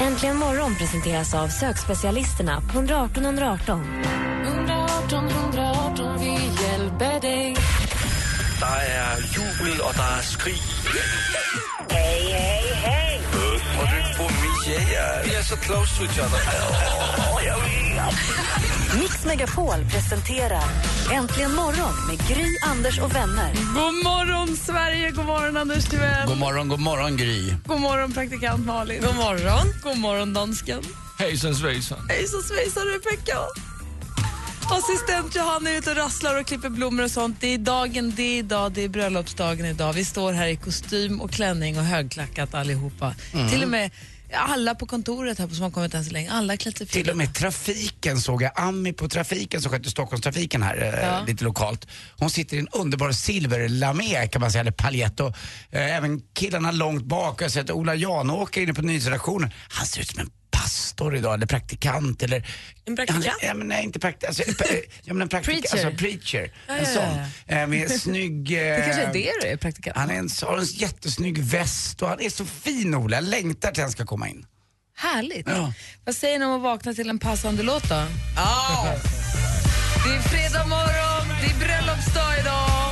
Äntligen morgon presenteras av sökspecialisterna på 118 118. 118 118, vi hjälper dig. Der er jubel, og der er skrig. Hey, hey, hey. Og det er på mig, ja, ja. Vi er så close to each other. Mix Megapol presenterar Äntligen morgon med Gry, Anders och vänner. God morgon, Sverige! God morgon, Anders Timell! God morgon, god morgon Gry. God morgon, praktikant Malin! God morgon! God morgon, dansken! Hejsan svejsan. Hejsan svejsan, Rebecka! Assistent Johanna är ute och rasslar och klipper blommor och sånt. Det är dagen, det är idag, det är bröllopsdagen idag. Vi står här i kostym och klänning och högklackat allihopa. Till och med alla på kontoret här på som har kommit än så länge, alla har klätt sig Till och med trafiken såg jag, Ami på trafiken som skötte Stockholmstrafiken här eh, Ja. lite lokalt. Hon sitter i en underbar silverlamé kan man säga, eller paljett och eh, även killarna långt bak. Jag har sett Ola Janåker inne på nyhetsredaktionen. Han ser ut som en pastor idag, eller praktikant eller... En praktikant? ja, men nej, inte praktikant. Alltså, eh, ja, men en praktikant, Preacher. Alltså, preacher. En ja, sån. Eh, med snygg... eh, Det kanske Ehm. är det du är, praktikant. Ah, Han är en, har en jättesnygg väst och han är så fin Ola. Jag längtar till han ska komma in. Härligt. Ja. Vad säger ni om att vakna till en passande låt då? Det är fredag morgon, det är bröllopsdag idag.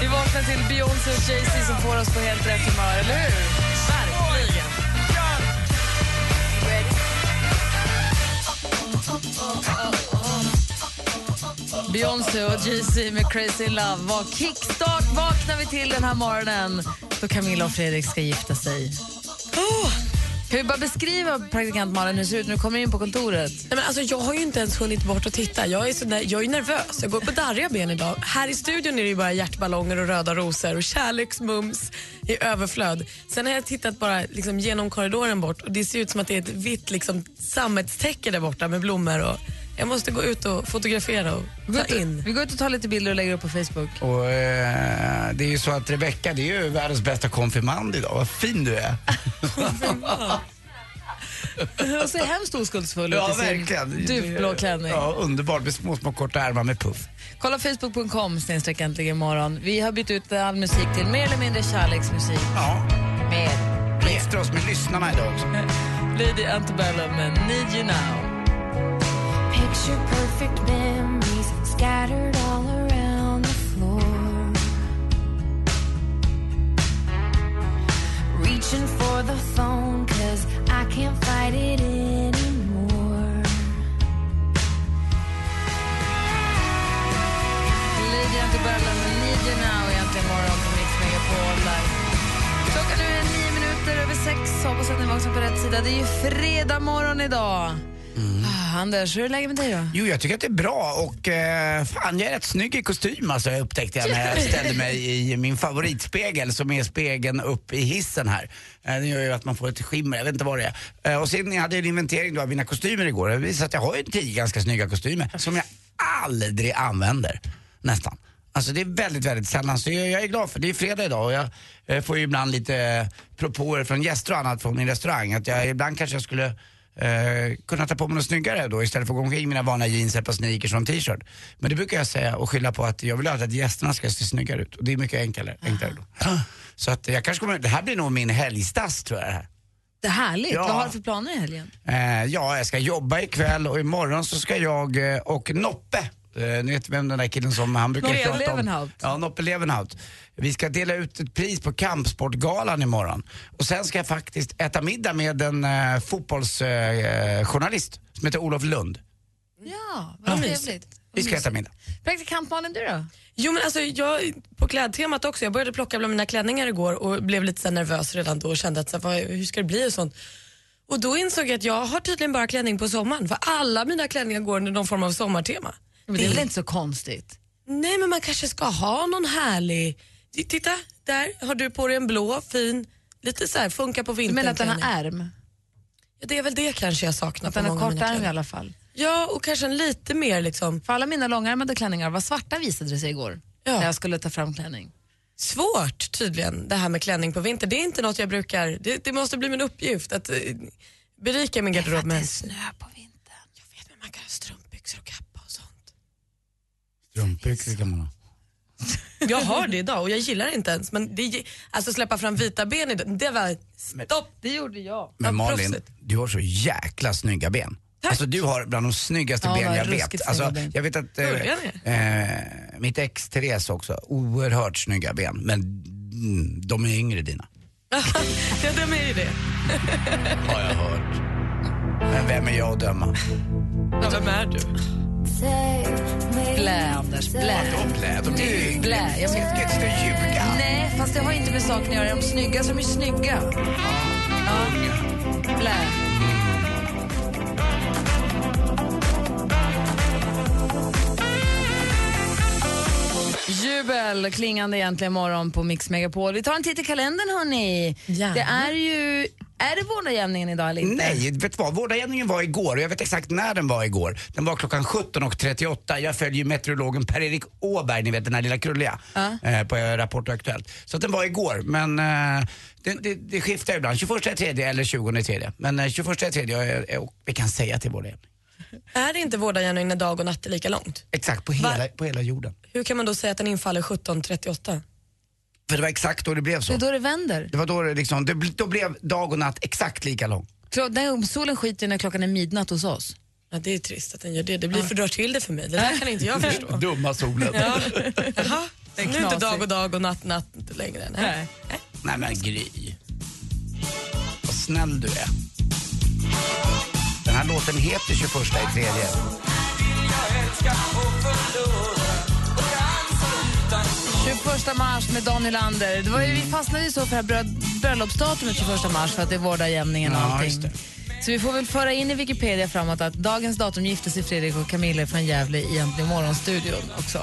Vi vaknar till Beyoncé och Jay-Z som får oss på helt rätt humör, eller hur? Verkligen. Beyoncé och Jay-Z med Crazy in Love. Vad kickstart vaknar vi till den här morgonen då Camilla och Fredrik ska gifta sig. Oh! Kan vi bara beskriva praktikant Malin hur det ser ut när du kommer in på kontoret? Nej, men alltså, jag har ju inte ens hunnit bort och titta. Jag är, så där, jag är nervös. Jag går på darriga ben idag. Här i studion är det ju bara hjärtballonger och röda rosor och kärleksmums i överflöd. Sen har jag tittat bara liksom, genom korridoren bort och det ser ut som att det är ett vitt liksom, sammetstäcke där borta med blommor. Och jag måste gå ut och fotografera och Vi ta går ut- in. Vi går ut och tar lite bilder och lägger upp på Facebook. Och eh, det är ju så att Rebecca, det är ju världens bästa konfirmand idag. Vad fin du är. Hon ser hemskt oskuldsfull ut i sin djupblå klänning. Ja, underbart med små, små korta ärmar med puff. Kolla facebook.com snedstreck äntligen imorgon. Vi har bytt ut all musik till mer eller mindre kärleksmusik. Ja, Med vi gifter oss med lyssnarna idag också. Lady Antebellum med Need You Now. Picture perfect memories scattered all around the floor. Reaching for the phone, cause I can't fight it anymore. Lady Antebellum med Need You Now egentligen imorgon på Mix Megapol. Där. Klockan nu är nio minuter över sex. Hoppas att ni vaknar på rätt sida. Det är ju fredag morgon idag. Ah, Anders, hur är läget med dig då? Jo, jag tycker att det är bra och eh, fan, jag är rätt snygg i kostym alltså, jag upptäckte jag när jag ställde mig i min favoritspegel som är spegeln upp i hissen här. Eh, det gör ju att man får ett skimmer, jag vet inte vad det är. Eh, och sen jag hade jag en inventering då av mina kostymer igår och det visade att jag har ju tio ganska snygga kostymer som jag aldrig använder, nästan. Alltså det är väldigt, väldigt sällan. Så jag, jag är glad för det. är fredag idag och jag eh, får ju ibland lite eh, propåer från gäster och annat från min restaurang. Att jag ibland kanske jag skulle eh, kunna ta på mig något snyggare då istället för att gå omkring i mina vanliga jeans, ett par sneakers och en t-shirt. Men det brukar jag säga och skylla på att jag vill alltid att gästerna ska se snyggare ut och det är mycket enklare, enklare då. Så att jag kanske kommer, det här blir nog min helgstass tror jag det här. Det är härligt. Ja. Vad har du för planer i helgen? Eh, ja, jag ska jobba ikväll och imorgon så ska jag eh, och Noppe Eh, ni vet vem den där killen som han brukar Noppe prata om? Levenhaupt. Ja, Noppe Levenhaupt. Vi ska dela ut ett pris på Kampsportgalan imorgon. Och sen ska jag faktiskt äta middag med en eh, fotbollsjournalist eh, journalist som heter Olof Lund. Ja, vad trevligt. Vi ska äta middag. Praktikant Malin, du då? Jo, men alltså, jag, på klädtemat också, jag började plocka bland mina klänningar igår och blev lite så här nervös redan då och kände att så här, vad, hur ska det bli och sånt. Och då insåg jag att jag har tydligen bara klänning på sommaren för alla mina klänningar går under någon form av sommartema. Men det är väl inte så konstigt? Nej men man kanske ska ha någon härlig, T- titta där har du på dig en blå fin, lite så här funkar på Du vintern. menar att den klänning. har ärm? Ja, Det är väl det kanske jag saknar Att den på har många av kort mina ärm i klänningar. alla fall? Ja, och kanske en lite mer liksom För alla mina långärmade klänningar var svarta visade det sig igår. Ja. När jag skulle ta fram klänning. svårt tydligen det här med klänning på vinter. Det är inte något jag brukar, det, det måste bli min uppgift att eh, berika min garderob med. snö på vintern. Jag vet, men man kan ha strumpbyxor och kappa och sånt. Strumpbyxor kan man ha. Jag har det idag och jag gillar det inte ens. Men det, ge- alltså släppa fram vita ben idag, det var stopp. Det gjorde jag. Men Ja, Malin, proffsigt. du har så jäkla snygga ben. Alltså du har bland de snyggaste Ja, ben vad jag vet. ruskigt Alltså, snygga ben. jag vet att Börjar eh, eh, mitt ex Therese också, oerhört snygga ben. Men mm, de är yngre dina. Ja, det är ju det. Har jag hört. Men vem är jag att döma? Vem är du? Blä, Anders. Blä. De lät, de är yngre. Blä. Jag ska... Jag ska inte ljuga. Nej, fast det har inte med saken att göra. De snygga som är snygga. Ja. Blä. Jubel, klingande egentligen morgon på Mix Megapol. Vi tar en titt i kalendern hörni. Gärna. Det är ju, är det vårdagjämningen idag eller inte? Nej, vet du vad? Vårdarämningen var igår och jag vet exakt när den var igår. Den var klockan 17.38. Jag följer ju meteorologen Per-Erik Åberg, ni vet den här lilla krulliga, eh, på eh, Rapport och Aktuellt. Så att den var igår, men eh, det, det, det skiftar ibland. 21 tredje eller 20 tredje. Men eh, 21 tredje är- är- och vi kan säga att det är vårdarämning. Är det inte vårdagen när dag och natt är lika långt? Exakt, på hela, på hela jorden. Hur kan man då säga att den infaller 17.38? För det var exakt då det blev Det så. är då det vänder. Det var då det liksom, det, bl- då blev dag och natt exakt lika lång. Klo- den- Solen skiter ju när klockan är midnatt hos oss. Ja, det är trist att den gör det. Det blir fördrar till det för mig. Det där kan inte jag förstå. Dumma solen. Jaha, nu är inte knasigt. dag och dag och natt natt längre. Nej. Nej men Gry. Vad snäll du är. Den här låten heter 21 i tredje. Jag älskar att förlora 21 mars med Dan Nylander. Det var ju, vi fastnade ju så för det här brö- bröllopsdatumet 21 mars för att det är vårdagjämningen och Ja, allting. just det. Så vi får väl föra in i Wikipedia framåt att dagens datum gifte sig Fredrik och Camilla från Gävle i Äntligen morgonstudion också.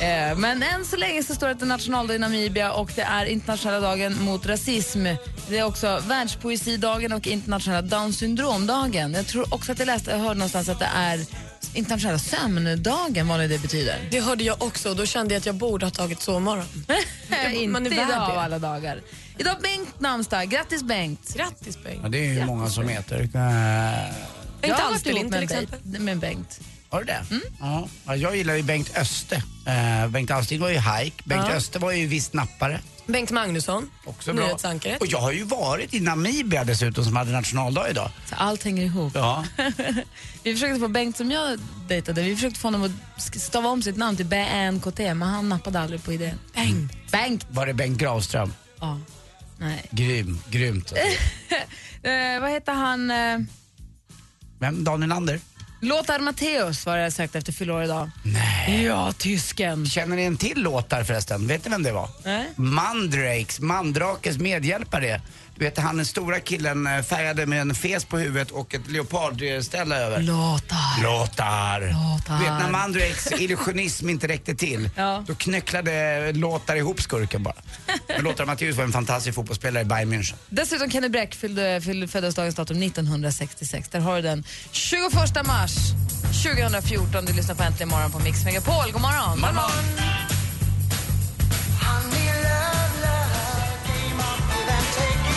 Eh, men än så länge så står det att det är nationaldag i Namibia och det är internationella dagen mot rasism. Det är också världspoesidagen och internationella down syndromdagen. Jag tror också att jag läste, jag hörde någonstans att det är internationella sömndagen, vad nu det betyder. Det hörde jag också och då kände jag att jag borde ha tagit sovmorgon. inte Man är värd idag av det. alla dagar. Idag har Bengt namnsdag. Grattis Bengt. Grattis Bengt. Ja, det är ju många som heter. eh, inte har alls varit ihop Bilin, med till Bengt- exempel. Med Bengt. Har du det? Ja. Ja, jag gillar ju Bengt Öste. Eh, Bengt Alsting var ju hajk. Bengt Öste var ju visst nappare. Bengt Magnusson, Också bra. nyhetsankaret. Och jag har ju varit i Namibia dessutom som hade nationaldag idag. Så allt hänger ihop. Ja. vi försökte få Bengt som jag dejtade, vi försökte få honom att sk- stava om sitt namn till BNKT, men han nappade aldrig på idén. Bengt. Bengt! Var det Bengt Gravström? Ja. Nej. Grym, grymt. Eh, vad heter han? Eh, Vem? Daniel Lander? Lothar Matthäus var det jag sökte efter fyller år idag. Nej. Ja, tysken. Känner ni en till låt där förresten? Vet ni vem det var? Nej. Mandrakes, Mandrakes medhjälpare. Du vet han den stora killen eh, färgade med en fes på huvudet och ett leopardställe över. Lothar. Låtar. Lothar. Du vet när Mandrakes illusionism inte räckte till, Ja. då knöcklade Låtar ihop skurken bara. Men Lothar Matthäus var en fantastisk fotbollsspelare i Bayern München. Dessutom Kenny Bräck fyllde, fyllde föddes dagens datum 1966. Där har du den. 21 mars 2014. Du lyssnar på Äntligen morgon på Mix Megapol. God morgon! God morgon.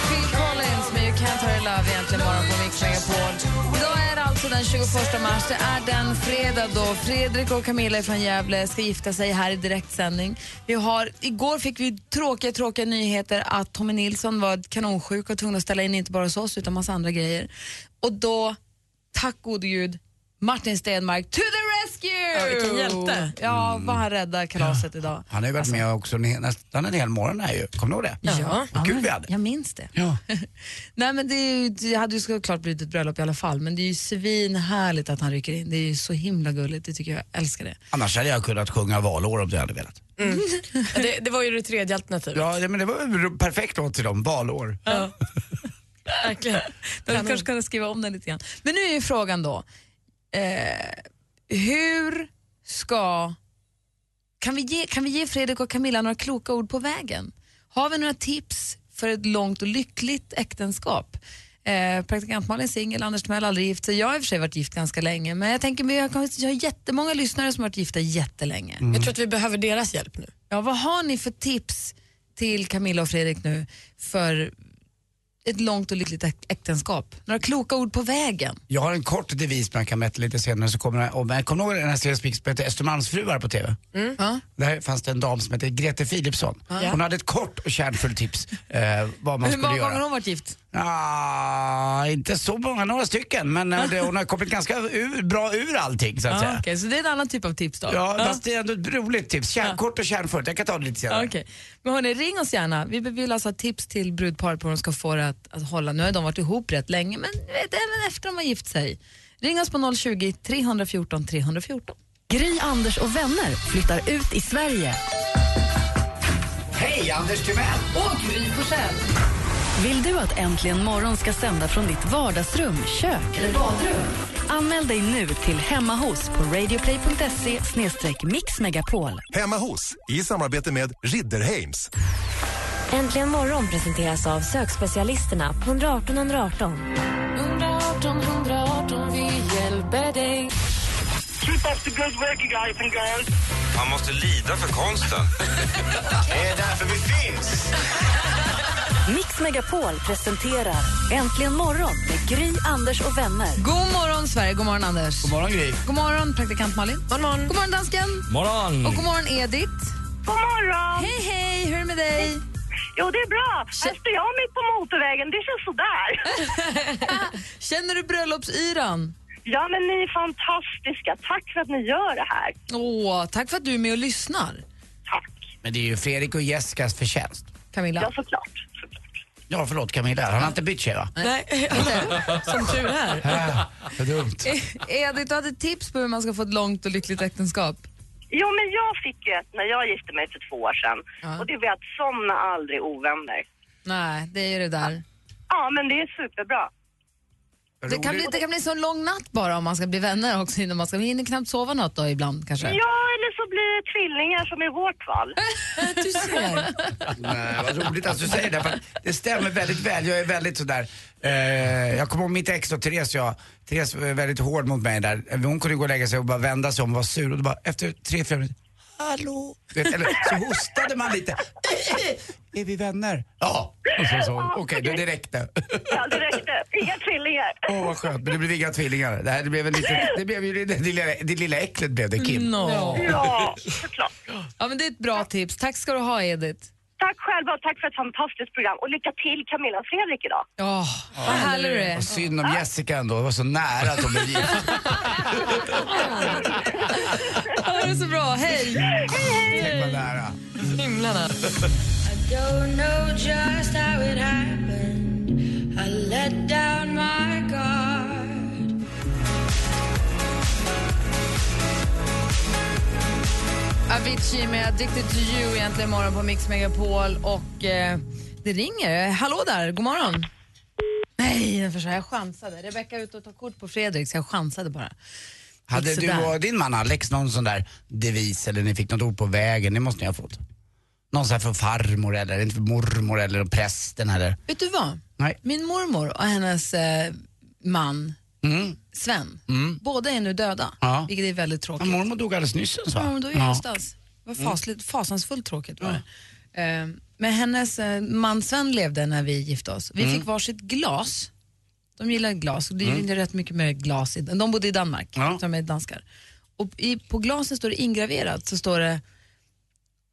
Phil Collins med You Can't Hurry Love egentligen morgon på Mix Megapol. Idag är det alltså den 21 mars. Det är den fredag då Fredrik och Camilla från Gävle ska gifta sig här i direktsändning. Vi har, igår fick vi tråkiga, tråkiga nyheter att Tommy Nilsson var kanonsjuk och tvungen att ställa in inte bara hos oss utan massa andra grejer. Och då, tack gode gud, Martin Stenmark to the rescue! Ja, vilken hjälte. Ja, vad han räddade kalaset idag. Han har ju varit med också en- nästan en hel morgon här ju. Kommer du ihåg det? Ja. Vad kul men vi hade. Jag minns det. Ja. Nej men det, är ju, det hade ju såklart blivit ett bröllop i alla fall men det är ju svinhärligt att han rycker in. Det är ju så himla gulligt, det tycker jag, jag älskar det. Annars hade jag kunnat sjunga valår om jag hade velat. Det, det var ju det tredje alternativet. Ja, det- men det var en perfekt låt till dem, valår. Ja. Verkligen. Men vi kanske kan skriva om den lite grann. Men nu är ju frågan då, eh, hur ska, kan vi, ge, kan vi ge Fredrik och Camilla några kloka ord på vägen? Har vi några tips för ett långt och lyckligt äktenskap? Eh, Eh, praktikant Malin singel, Anders Timell aldrig gift sig. Jag har i och för sig varit gift ganska länge men jag tänker mig, jag har jag har jättemånga lyssnare som har varit gifta jättelänge. Jag tror att vi behöver deras hjälp nu. Ja, vad har ni för tips till Camilla och Fredrik nu för ett långt och lyckligt äk- äktenskap? Några kloka ord på vägen? Jag har en kort devis man kan mäta lite senare så kommer den. Och men kommer ni ihåg den här serien som gick som hette Östermalmsfruar på TV? Ja. Där fanns det en dam som hette Grete Philipsson. Hon hade ett kort och kärnfullt tips eh, vad man Hur skulle många gånger har göra. hon varit gift? Ah, inte så många, några stycken. Men eh, det, hon har kommit ganska ur, bra ur allting så att Ja, säga. Ah, okej, så det är en annan typ av tips då? Ja, fast det är ändå ett roligt tips. Kärn, Kort och kärnfullt. Jag kan ta det lite senare. Ja, okej. Men hörni, ring oss gärna. Vi vill alltså ha tips till brudpar på hur de ska få det att, att hålla. Nu har de varit ihop rätt länge, men du vet, även efter de har gift sig. Ring oss på 020-314 314. Gry, Anders och vänner flyttar ut i Sverige. Hej, Anders Timell! Vill du att Äntligen morgon ska sända från ditt vardagsrum, kök eller badrum? Anmäl dig nu till Hemma hos på radioplay.se mixmegapol. Hemma hos, i samarbete med Ridderheims. Äntligen morgon presenteras av sökspecialisterna på 118 118. Man måste lida för konsten. Det är därför vi finns! Mix Megapol presenterar Äntligen morgon med Gry, Anders och vänner. God morgon Sverige, god morgon Anders. God morgon, Gry. God morgon, praktikant Malin. God morgon, god morgon dansken. Morgon! Och god morgon Edith. God morgon! Hej, hej, hur är det med dig? Jo, det är bra. Här står jag mitt på motorvägen. Det känns sådär. Känner du bröllopsyran? Ja, men ni är fantastiska. Tack för att ni gör det här. Åh, tack för att du är med och lyssnar, Tack. Men det är ju Fredrik och Jessicas förtjänst. Camilla. Ja, såklart. såklart. Ja, förlåt Camilla. Han har inte bytt sig va? Nej, som tur är. Ja, det är dumt. Edith, du hade tips på hur man ska få ett långt och lyckligt äktenskap. Jo, men jag fick ju ett när jag gifte mig för två år sedan. Ja. Och det var att somna aldrig ovänner. Nej, det är ju det där. Ja, men det är superbra. Det kan, bli, det kan bli så lång natt bara om man ska bli vänner också innan man ska, man hinner knappt sova något då ibland kanske. Ja, eller så blir det tvillingar som i vårt fall. du ser. Nej, vad roligt att du säger det. För att det stämmer väldigt väl. Jag är väldigt sådär... Eh, jag kommer ihåg mitt ex och Therese, jag, Therese var väldigt hård mot mig där. Hon kunde gå och lägga sig och bara vända sig om och vara sur. Och då bara, efter tre, fyra minuter, hallå? Du Vet, eller, så hostade man lite. Är vi vänner? Ja. Och så sa hon, okej, det- det räckte. Ja, det räckte. Inga tvillingar. Åh, vad skönt. Men det blev inga tvillingar. Det, här, det, blev en liten, det blev ju det, det, lilla, det lilla äcklet blev det, Kim. No. Ja, såklart. Ja, men det är ett bra tips. Tack ska du ha Edith. Tack själva och tack för ett fantastiskt program. Och lycka till Camilla och Fredrik idag. Ja, vad härlig du är. Vad synd om Jessica ändå. Det var så nära att hon blev gift. Ha det så bra, hej! Tänk vad nära. Himlarna. Avicii med Addicted to you egentligen imorgon på Mix Megapol och eh, det ringer. Hallå där, god morgon. Nej, jag försöker, jag chansade. Rebecka är ute och tar kort på Fredrik så jag chansade bara. Hade Gick du sådär. och din man Alex någon sån där devis eller ni fick något ord på vägen? Det måste ni ha fått. Någon sån här från farmor eller inte från mormor eller prästen eller? Vet du vad? Nej. Min mormor och hennes eh, man Sven, båda är nu döda, Mm. Ja. vilket är väldigt Ja, tråkigt. mormor dog alldeles nyss va? Ja, men då är jag någonstans. Det var fasligt, fasansfullt tråkigt var det. Eh, men hennes eh, man Sven levde när vi gifte oss. Vi fick varsitt glas. De gillar glas och det är ju rätt mycket med glas. I, de bodde i Danmark, Ja. de är danskar. Och i, på glasen står det ingraverat så står det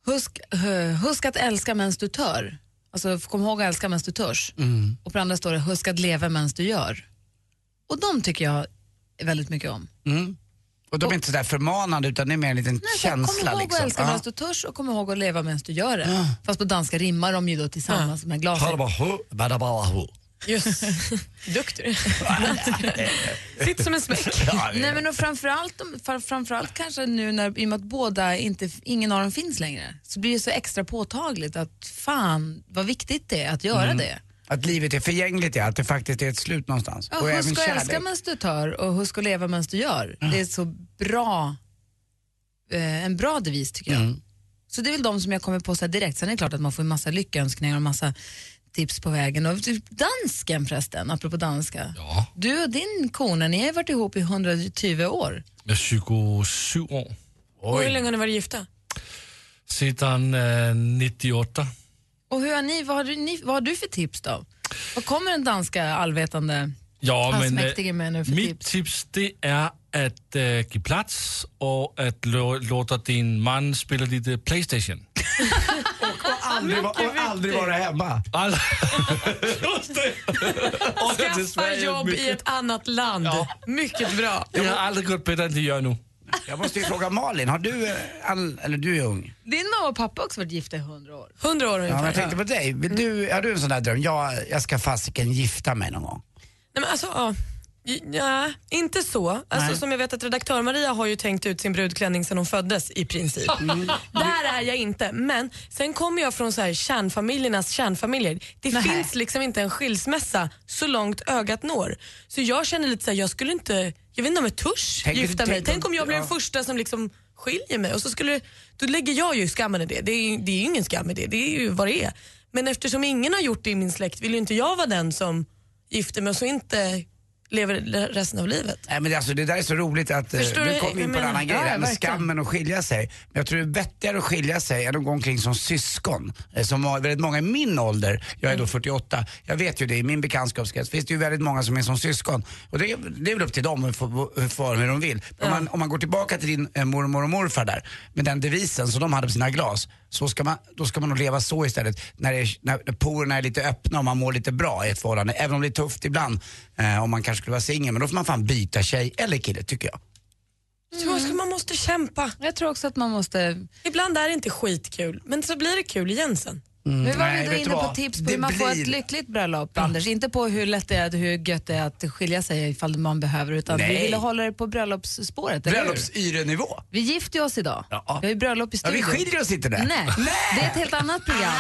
Husk, hö- husk att älska medan du tör. Alltså kom ihåg att älska medan du törs. Och på andra står det husk att leva medan du gör. Och de tycker jag väldigt mycket om. Och de är inte sådär förmanande utan det är mer en liten Nej, så här, känsla kom ihåg liksom. att älska medan du törs och kom ihåg att leva medan du gör det. Fast på danska rimmar de ju då tillsammans med glaset. Ja. Just. Duktig Sitt som en smäck. Ja, det- Nej men och framförallt, de- fra- framförallt kanske nu när, i och med att båda inte, ingen av dem finns längre så blir det så extra påtagligt att fan vad viktigt det är att göra Mm. det. Att livet är förgängligt ja, att det faktiskt är ett slut någonstans. Ja, husk att älska medan du tör och husk att leva medan du gör. Det är så bra, eh, en bra devis tycker jag. Så det är väl de som jag kommer på så här direkt. Sen är det klart att man får en massa lyckönskningar och massa tips på vägen. Och typ dansken förresten, apropå danska. Du och din kona, ni har ju varit ihop i 120 år. Jag är 27 år. Och hur länge har ni varit gifta? Sedan eh, 98. Och hur har ni, vad, har du, ni, vad har du för tips då? Vad kommer den danska allvetande Ja, men, allsmäktige med nu för mitt tips? tips, det är att eh, ge plats och att lo- låta din man spela lite eh, Playstation. Aldrig, va- och aldrig vara hemma. Alla... Just det! Och till Skaffa Sverige jobb mycket. i ett annat land. Mycket bra. Det har aldrig gått bättre än det gör nu. Jag måste ju fråga Malin, har du, eh, all, eller du är ung. Din mamma och pappa har också varit gifta i 100 år. 100 år Ja, men ungefär. jag tänkte på dig, Mm. Vill du, har du en sån där dröm? Jag, jag ska fasiken gifta mig någon gång. Nej, men alltså, ja. Ja, inte så. Alltså, Nej. som jag vet att redaktör Maria har ju tänkt ut sin brudklänning sedan hon föddes i princip. Där är jag inte. Men sen kommer jag från så här, kärnfamiljernas kärnfamiljer. Det Nej. finns liksom inte en skilsmässa så långt ögat når. Så jag känner lite så här, jag skulle inte, jag vet inte om jag törs Tänk- gifta mig. tänk- Tänk om jag blir den ja. första som liksom skiljer mig och så skulle, då lägger jag ju skammen i det. Det är, det är ju ingen skam i det, det är ju vad det är. Men eftersom ingen har gjort det i min släkt vill ju inte jag vara den som gifter mig och så inte lever le- resten av livet. Nej, men det, alltså, det där är så roligt att eh, Förstår du du? kom Jag in på en menar- annan Ja, grej, det här med verkligen. skammen att skilja sig. Men jag tror det är vettigare att skilja sig än att gå omkring som syskon. eh, Som har- väldigt många i min ålder, jag är då 48, jag vet ju det i min bekantskapskrets finns det ju väldigt många som är som syskon. Och det, det är väl upp till dem att få- hur far hur de vill. Men Om, man, om man går tillbaka till din eh, mormor och morfar där med den devisen som de hade på sina glas, så ska man, då ska man nog leva så istället. När, det, är- när när porerna är lite öppna och man mår lite bra i ett förhållande. Även om det är tufft ibland, eh, om man kanske skulle vara singel, men då får man fan byta tjej eller kille tycker jag. Mm. Jag tror man måste kämpa. Jag tror också att man måste... Ibland är det inte skitkul, men så blir det kul igen sen. Mm. Nu var vi då inne på tips på hur man får ett lyckligt bröllop, Anders. Inte på hur lätt det är, hur gött det är att skilja sig ifall man behöver, utan vi Nej. ville hålla er på bröllopsspåret, eller hur? Bröllopsyrenivå. Vi gifter ju oss idag. Ja. Vi har ju bröllop i Ja, studion. vi skiljer oss inte där. Ah! Nej. det är ett helt annat program.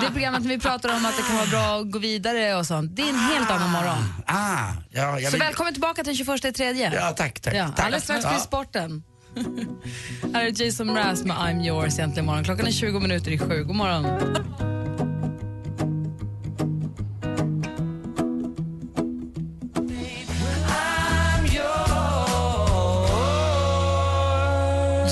Det är programmet när vi pratar om att det kan vara bra att gå vidare och sånt. Det är en helt annan morgon. Ah, ja, jag Så vill... välkommen tillbaka till den 21 tredje. Ja, tack, tack. Ja, tack. alldeles strax blir Ja. det sporten. Här är Jason Mraz med I'm yours äntligen morgon. Klockan är 20 minuter i sju. God morgon.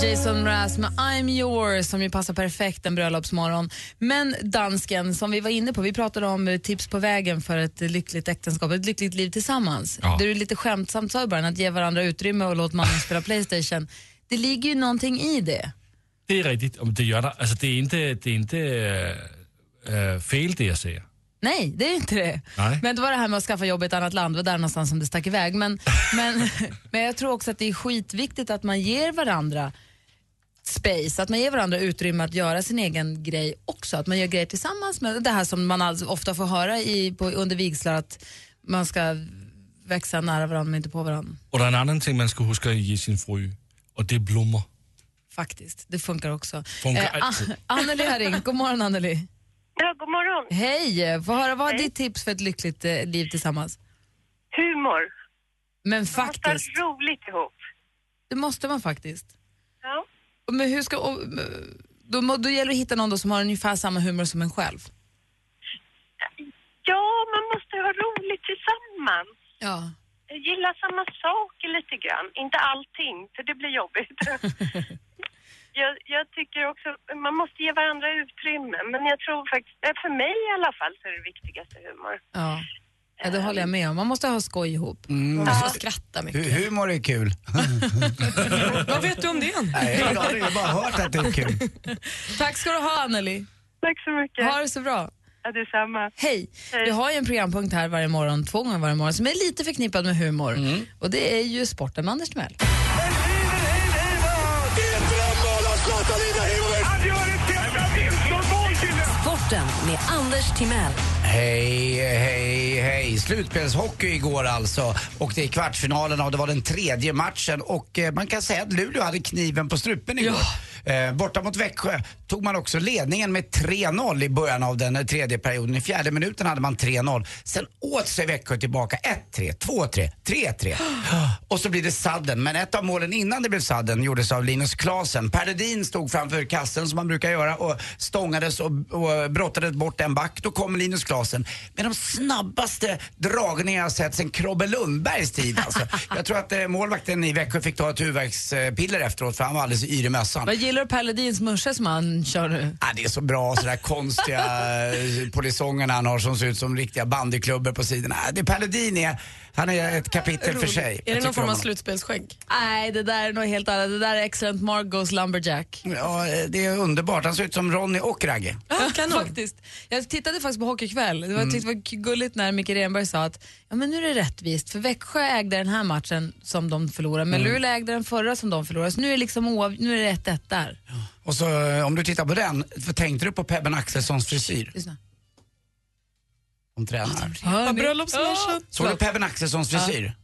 Jason Mraz med I'm yours som ju passar perfekt en bröllopsmorgon. Men dansken som vi var inne på, vi pratade om eh, tips på vägen för ett eh, lyckligt äktenskap, ett lyckligt liv tillsammans. Ja. Du lite skämtsamt sa i början att ge varandra utrymme och låt mannen spela Playstation. Det ligger ju någonting i det. Det är riktigt, om det gör det. Alltså det är inte, det är inte eh, eh, fel det jag säger. Nej, det är inte det. Nej. Men det var det här med att skaffa jobb i ett annat land, det var där någonstans som det stack iväg. Men, men, men jag tror också att det är skitviktigt att man ger varandra space, att man ger varandra utrymme att göra sin egen grej också. Att man gör grejer tillsammans med det här som man alltså ofta får höra i, på, under vigslar att man ska växa nära varandra men inte på varandra. Och det är en annan ting man ska huska att ge sin fru, och det är blommor. Faktiskt, det funkar också. Funkar Eh, alltid. An- Anneli har ringt, god morgon Anneli. Ja, god morgon. Hej! Få höra, vad är ditt tips för ett lyckligt eh, liv tillsammans? Humor. Men Man faktiskt, måste ha roligt ihop. det måste man faktiskt. Ja. Men hur ska, och, eh, då, må- då gäller det att hitta någon då som har ungefär samma humor som en själv. ja, man måste ha roligt tillsammans. Ja. Gilla samma saker lite grann. Inte allting, för det blir jobbigt. jag, jag tycker också man måste ge varandra utrymme. Men jag tror faktiskt, eh, för mig i alla fall, så är det viktigaste humor. Ja. ja, det håller jag med om. Man måste ha skoj ihop. Mm. Man Ja. måste skratta mycket. Hu- humor är kul. Vad vet du om det? Nej, jag har jag har bara hört att det är kul. Tack ska du ha, Anneli. Tack så mycket. Ha det så bra. Ja, detsamma. Hej. Vi har ju en programpunkt här varje morgon, två gånger varje morgon, som är lite förknippad med humor. Och det är ju sporten med Anders Timell. Sporten med Anders Timell. Hej, hej, hej. Slutspelshockey igår alltså. Och det är kvartsfinalerna och det var den tredje matchen. Och eh, man kan säga att Luleå hade kniven på strupen igår. Eh, borta mot Växjö tog man också ledningen med 3-0 i början av den eh, tredje perioden. I fjärde minuten hade man 3-0. Sen åt sig Växjö tillbaka 1-3, 2-3, 3-3. Och så blir det sadden. Men ett av målen innan det blev sadden gjordes av Linus Klasen. Per Ledin stod framför kassen som man brukar göra och stångades och, och brottades bort en back. Då kom Linus Klasen med de snabbaste dragningar jag sett sen Krobbe Lundbergs tid. Alltså. Jag tror att eh, målvakten i Växjö fick ta ett huvudvärkspiller efteråt för han var alldeles yr i mössan. Vad gillar du Per Ledins musche som han kör nu? Ah, det är så bra sådana här konstiga eh, polisonger han har som ser ut som riktiga bandyklubbor på sidorna. Ah, det Per Ledin är, han är ett kapitel för sig. Jag Är det tycker någon form om av honom. slutspelsskägg? Nej, det där är något helt annat. Det där är excellent Margos Lumberjack. Ja, eh, det är underbart. Han ser ut som Ronny och Ragge. faktiskt. Jag tittade faktiskt på Hockeykväll. Det var, Mm. jag tyckte det var k- gulligt när Micke Renberg sa att ja, men nu är det rättvist för Växjö ägde den här matchen som de förlorade men Mm. Luleå ägde den förra som de förlorade så nu är det liksom oav- nu är det 1-1 där. Och så eh, om du tittar på den, för tänkte du på Pebben Axelssons frisyr? Lyssna. Hon tränar. Hör ni? Bröllopsmorsan. Såg du Pebben Axelssons frisyr?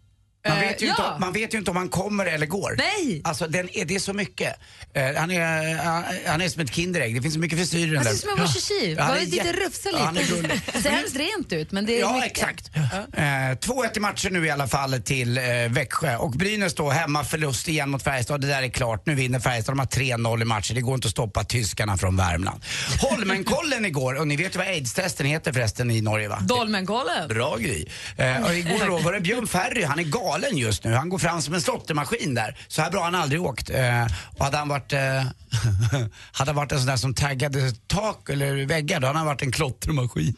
Man Eh, vet, ju inte, ja. om- man vet ju inte om han kommer eller går. Nej! Alltså den är, det är så mycket. Eh, han, är, han, han är som ett Kinderägg, det finns så mycket frisyrer i den Han där. ser ut Alltså, som en Washishi. Ja, han Bara är lite jätte- rufsa Ja, han är lite. gullig. Det ser hemskt rent ut men det är Ja, mycket. exakt. Eh, 2-1 i matchen nu i alla fall till eh, Växjö. Och Brynäs då hemma, förlust igen mot Färjestad. Det där är klart, nu vinner Färjestad. De har 3-0 i matchen. Det går inte att stoppa tyskarna från Värmland. Holmenkollen igår, och ni vet ju vad aids-testen heter förresten i Norge va? Dolmenkollen. Bra Gry. Eh, och igår då var det Björn Ferry, han är galen just nu. Han går fram som en slottermaskin där. Så här bra har han aldrig åkt. Eh, och hade han varit, eh, hade han varit en sån där som taggade tak eller väggar, då hade han varit en klottermaskin.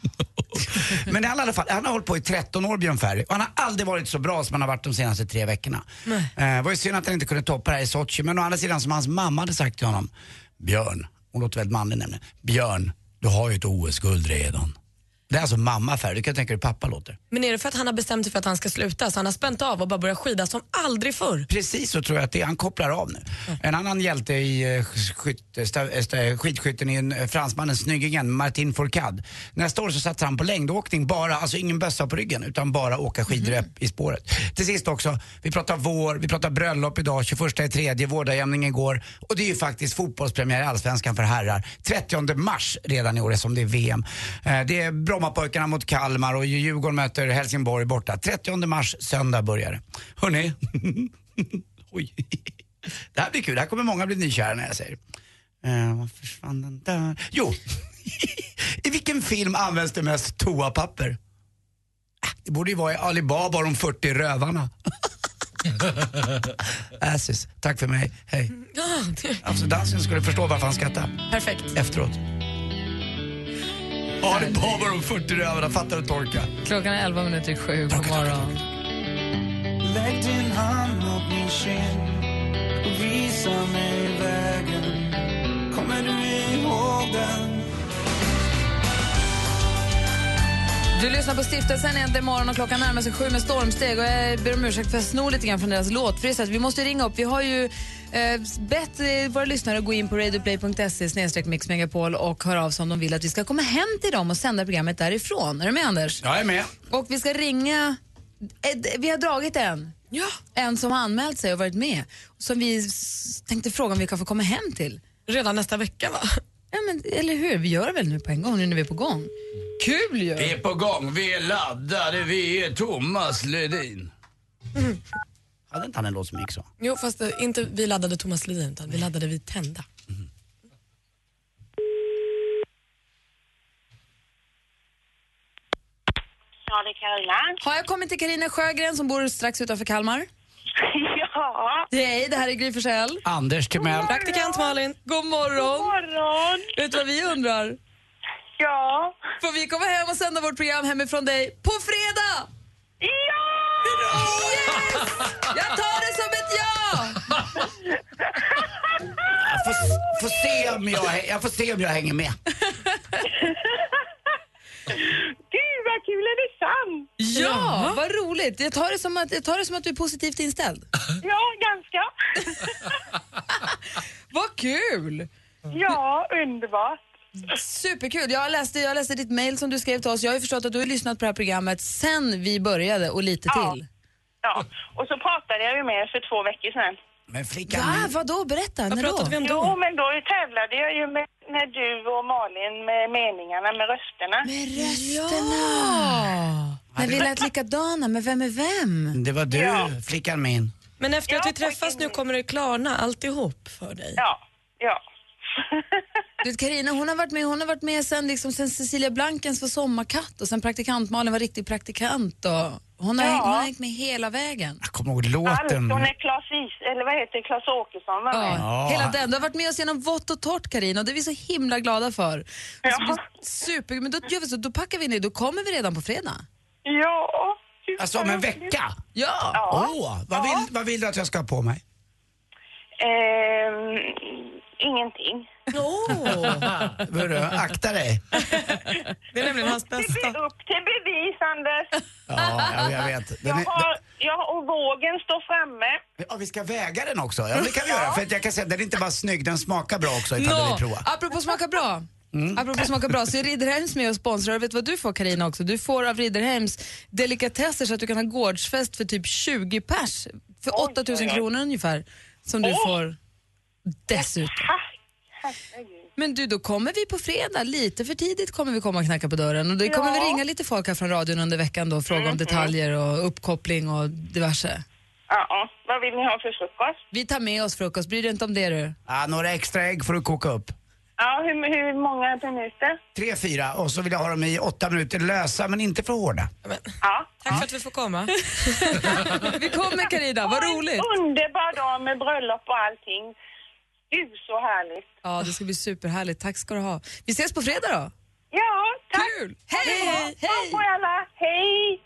Men han, i alla fall, han har hållit på i 13 år Björn Ferry och han har aldrig varit så bra som han har varit de senaste tre veckorna. Nej. Eh, Det var ju synd att han inte kunde toppa det här i Sochi, men å andra sidan som hans mamma hade sagt till honom, Björn, hon låter väldigt manlig nämligen, Björn, du har ju ett OS-guld redan. Det är alltså mamma Ferry, du kan tänka dig hur pappa låter. Men är det för att han har bestämt sig för att han ska sluta så han har spänt av och bara börjat skida som aldrig förr? Precis så tror jag att det är. Han kopplar av nu. En annan hjälte i eh, skytt, sta- eh, sta- skidskytten är en, eh, fransmannen, snyggingen Martin Fourcade. Nästa år så satsar han på längdåkning bara, alltså ingen bössa på ryggen utan bara åka skidor upp i spåret. Till sist också, vi pratar vår, vi pratar bröllop idag, 21 i tredje, vårdagjämning igår och det är ju faktiskt fotbollspremiär i Allsvenskan för herrar. 30 mars redan i år som det är VM. Eh, Det är Brommapojkarna mot Kalmar och Djurgården möter Helsingborg borta. 30 mars, söndag börjar det. Hörrni, Oj. Det här blir kul. Det här kommer många bli nykära när jag säger. Eh, vad försvann den där? Jo! I vilken film används det mest toapapper? Ah, Det borde ju vara i Alibaba och de 40 rövarna. Assis, tack för mig. Hej. Alltså dansen skulle förstå varför han skrattar. Perfekt. Efteråt. Alibaba och de 40 rövarna, fattar du torka? Klockan är 11 minuter i sju. God morgon. Lägg din hand mot min kind och visa mig vägen Kommer du ihåg den? Du lyssnar på Stiftelsen äntligen imorgon och klockan närmar sig sju med stormsteg. Och jag ber om ursäkt för att jag snor lite grann från deras låtfrist. Vi måste ringa upp. Vi har ju eh, bett eh, våra lyssnare att gå in på radioplay.se snedstreck Mix Megapol och höra av sig om de vill att vi ska komma hem till dem och sända programmet därifrån. Är du med Anders? Jag är med. Och vi ska ringa... eh, d- Vi har dragit en. Ja. En som har anmält sig och varit med. Som vi s- tänkte fråga om vi kan få komma hem till. Redan nästa vecka va? Ja, men, eller hur? Vi gör det väl nu på en gång, nu när vi är på gång. Kul ju! Vi är på gång, vi är laddade, vi är Thomas Ledin. Hade inte han en låt som gick så? Jo, fast eh, inte vi laddade Thomas Ledin utan vi laddade vi tända. Ja, det är Karolina. Har jag kommit till Karina Sjögren som bor strax utanför Kalmar? Ja. Hej, det här är Gry Forssell. Anders Timell. Praktikant Malin. God morgon. God morgon. Vet du vad vi undrar? Ja. Får vi komma hem och sända vårt program hemifrån dig på fredag? Ja! Yes! Jag tar det som ett ja! Jag får, får se om jag, jag får se om jag hänger med. Gud, vad kul! Är det sant? Ja, vad roligt. Jag tar, det som att, jag tar det som att du är positivt inställd. Ja, ganska. Vad kul! Ja, underbart. Superkul. Jag läste, jag läste ditt mejl som du skrev till oss. Jag har ju förstått att du har lyssnat på det här programmet sen vi började och lite till. Ja. Och så pratade jag ju med er för två veckor sedan. Men flickan... Va? Vadå? Berätta. När då? Jo, men då tävlade jag ju med, med du och Malin med meningarna, med rösterna. Med rösterna! När vi lät likadana, men vem är vem? Det var du, flickan min. Men efter att vi träffas nu kommer det klarna alltihop för dig. Ja, ja. Du vet, Carina, hon har varit med, hon har varit med sen, liksom, sen Cecilia Blankens var sommarkatt och sen praktikant Malin var riktig praktikant. Och hon, har, Ja. hängt- hon har hängt med hela vägen. Kommer ihåg Allt, låten? Alltså, hon är Klas Is, eller vad heter det, Klas Åkesson var med. Ja. Hela den. Du har varit med oss genom vått och torrt Carina och det är vi så himla glada för. Super, men då gör vi så, då packar vi ner, då kommer vi redan på fredag. Ja. Alltså om en vecka? Ja. Åh, vad, vill, vad vill du att jag ska ha på mig? Ehm, ingenting. Hörru, akta dig. Det är nämligen hans bästa. Upp till bevis, Anders. Ja, jag, jag vet. Jag Den är, har, jag, och vågen står framme. ja, vi ska väga den också. Ja, det kan vi göra. För att jag kan säga att den är inte bara snygg, den smakar bra också ifall du Nå, vill prova. apropå smaka bra. Apropå smaka bra, så är Ridderheims med och sponsrar. Och Vet du vad du får Karina också? Du får av Ridderheims delikatesser så att du kan ha gårdsfest för typ 20 pers. För 8000 kronor ungefär. Som du Oj. får dessutom. Men du, då kommer vi på fredag, lite för tidigt kommer vi komma och knacka på dörren. Och då kommer Ja. vi ringa lite folk här från radion under veckan då och fråga Mm, om Mhm. detaljer och uppkoppling och diverse. Ja, ja. vad vill ni ha för frukost? Vi tar med oss frukost, bryr dig inte om det du. Ja, några extra ägg får du koka upp. Ja, hur, hur många minuter? Tre, fyra och så vill jag ha dem i åtta minuter lösa men inte för hårda. Ja. Tack för att vi får komma. Mm. Vi kommer Carina, vad roligt! Underbar dag med bröllop och allting. Gud, så härligt. Ja, det ska bli superhärligt. Tack ska du ha. Vi ses på fredag då! Ja, tack. Kul! Hej! Hej! på alla. Hej!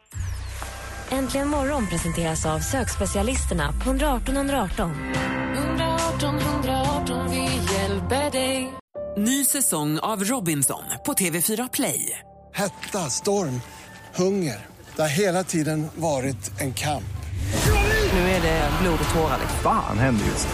Äntligen morgon presenteras av sökspecialisterna på 118 118. 118 118, vi hjälper dig. Ny säsong av Robinson på TV4 Play. Hetta, storm, hunger. Det har hela tiden varit en kamp. Nu är det blod och tårar. liksom. Fan händer just det.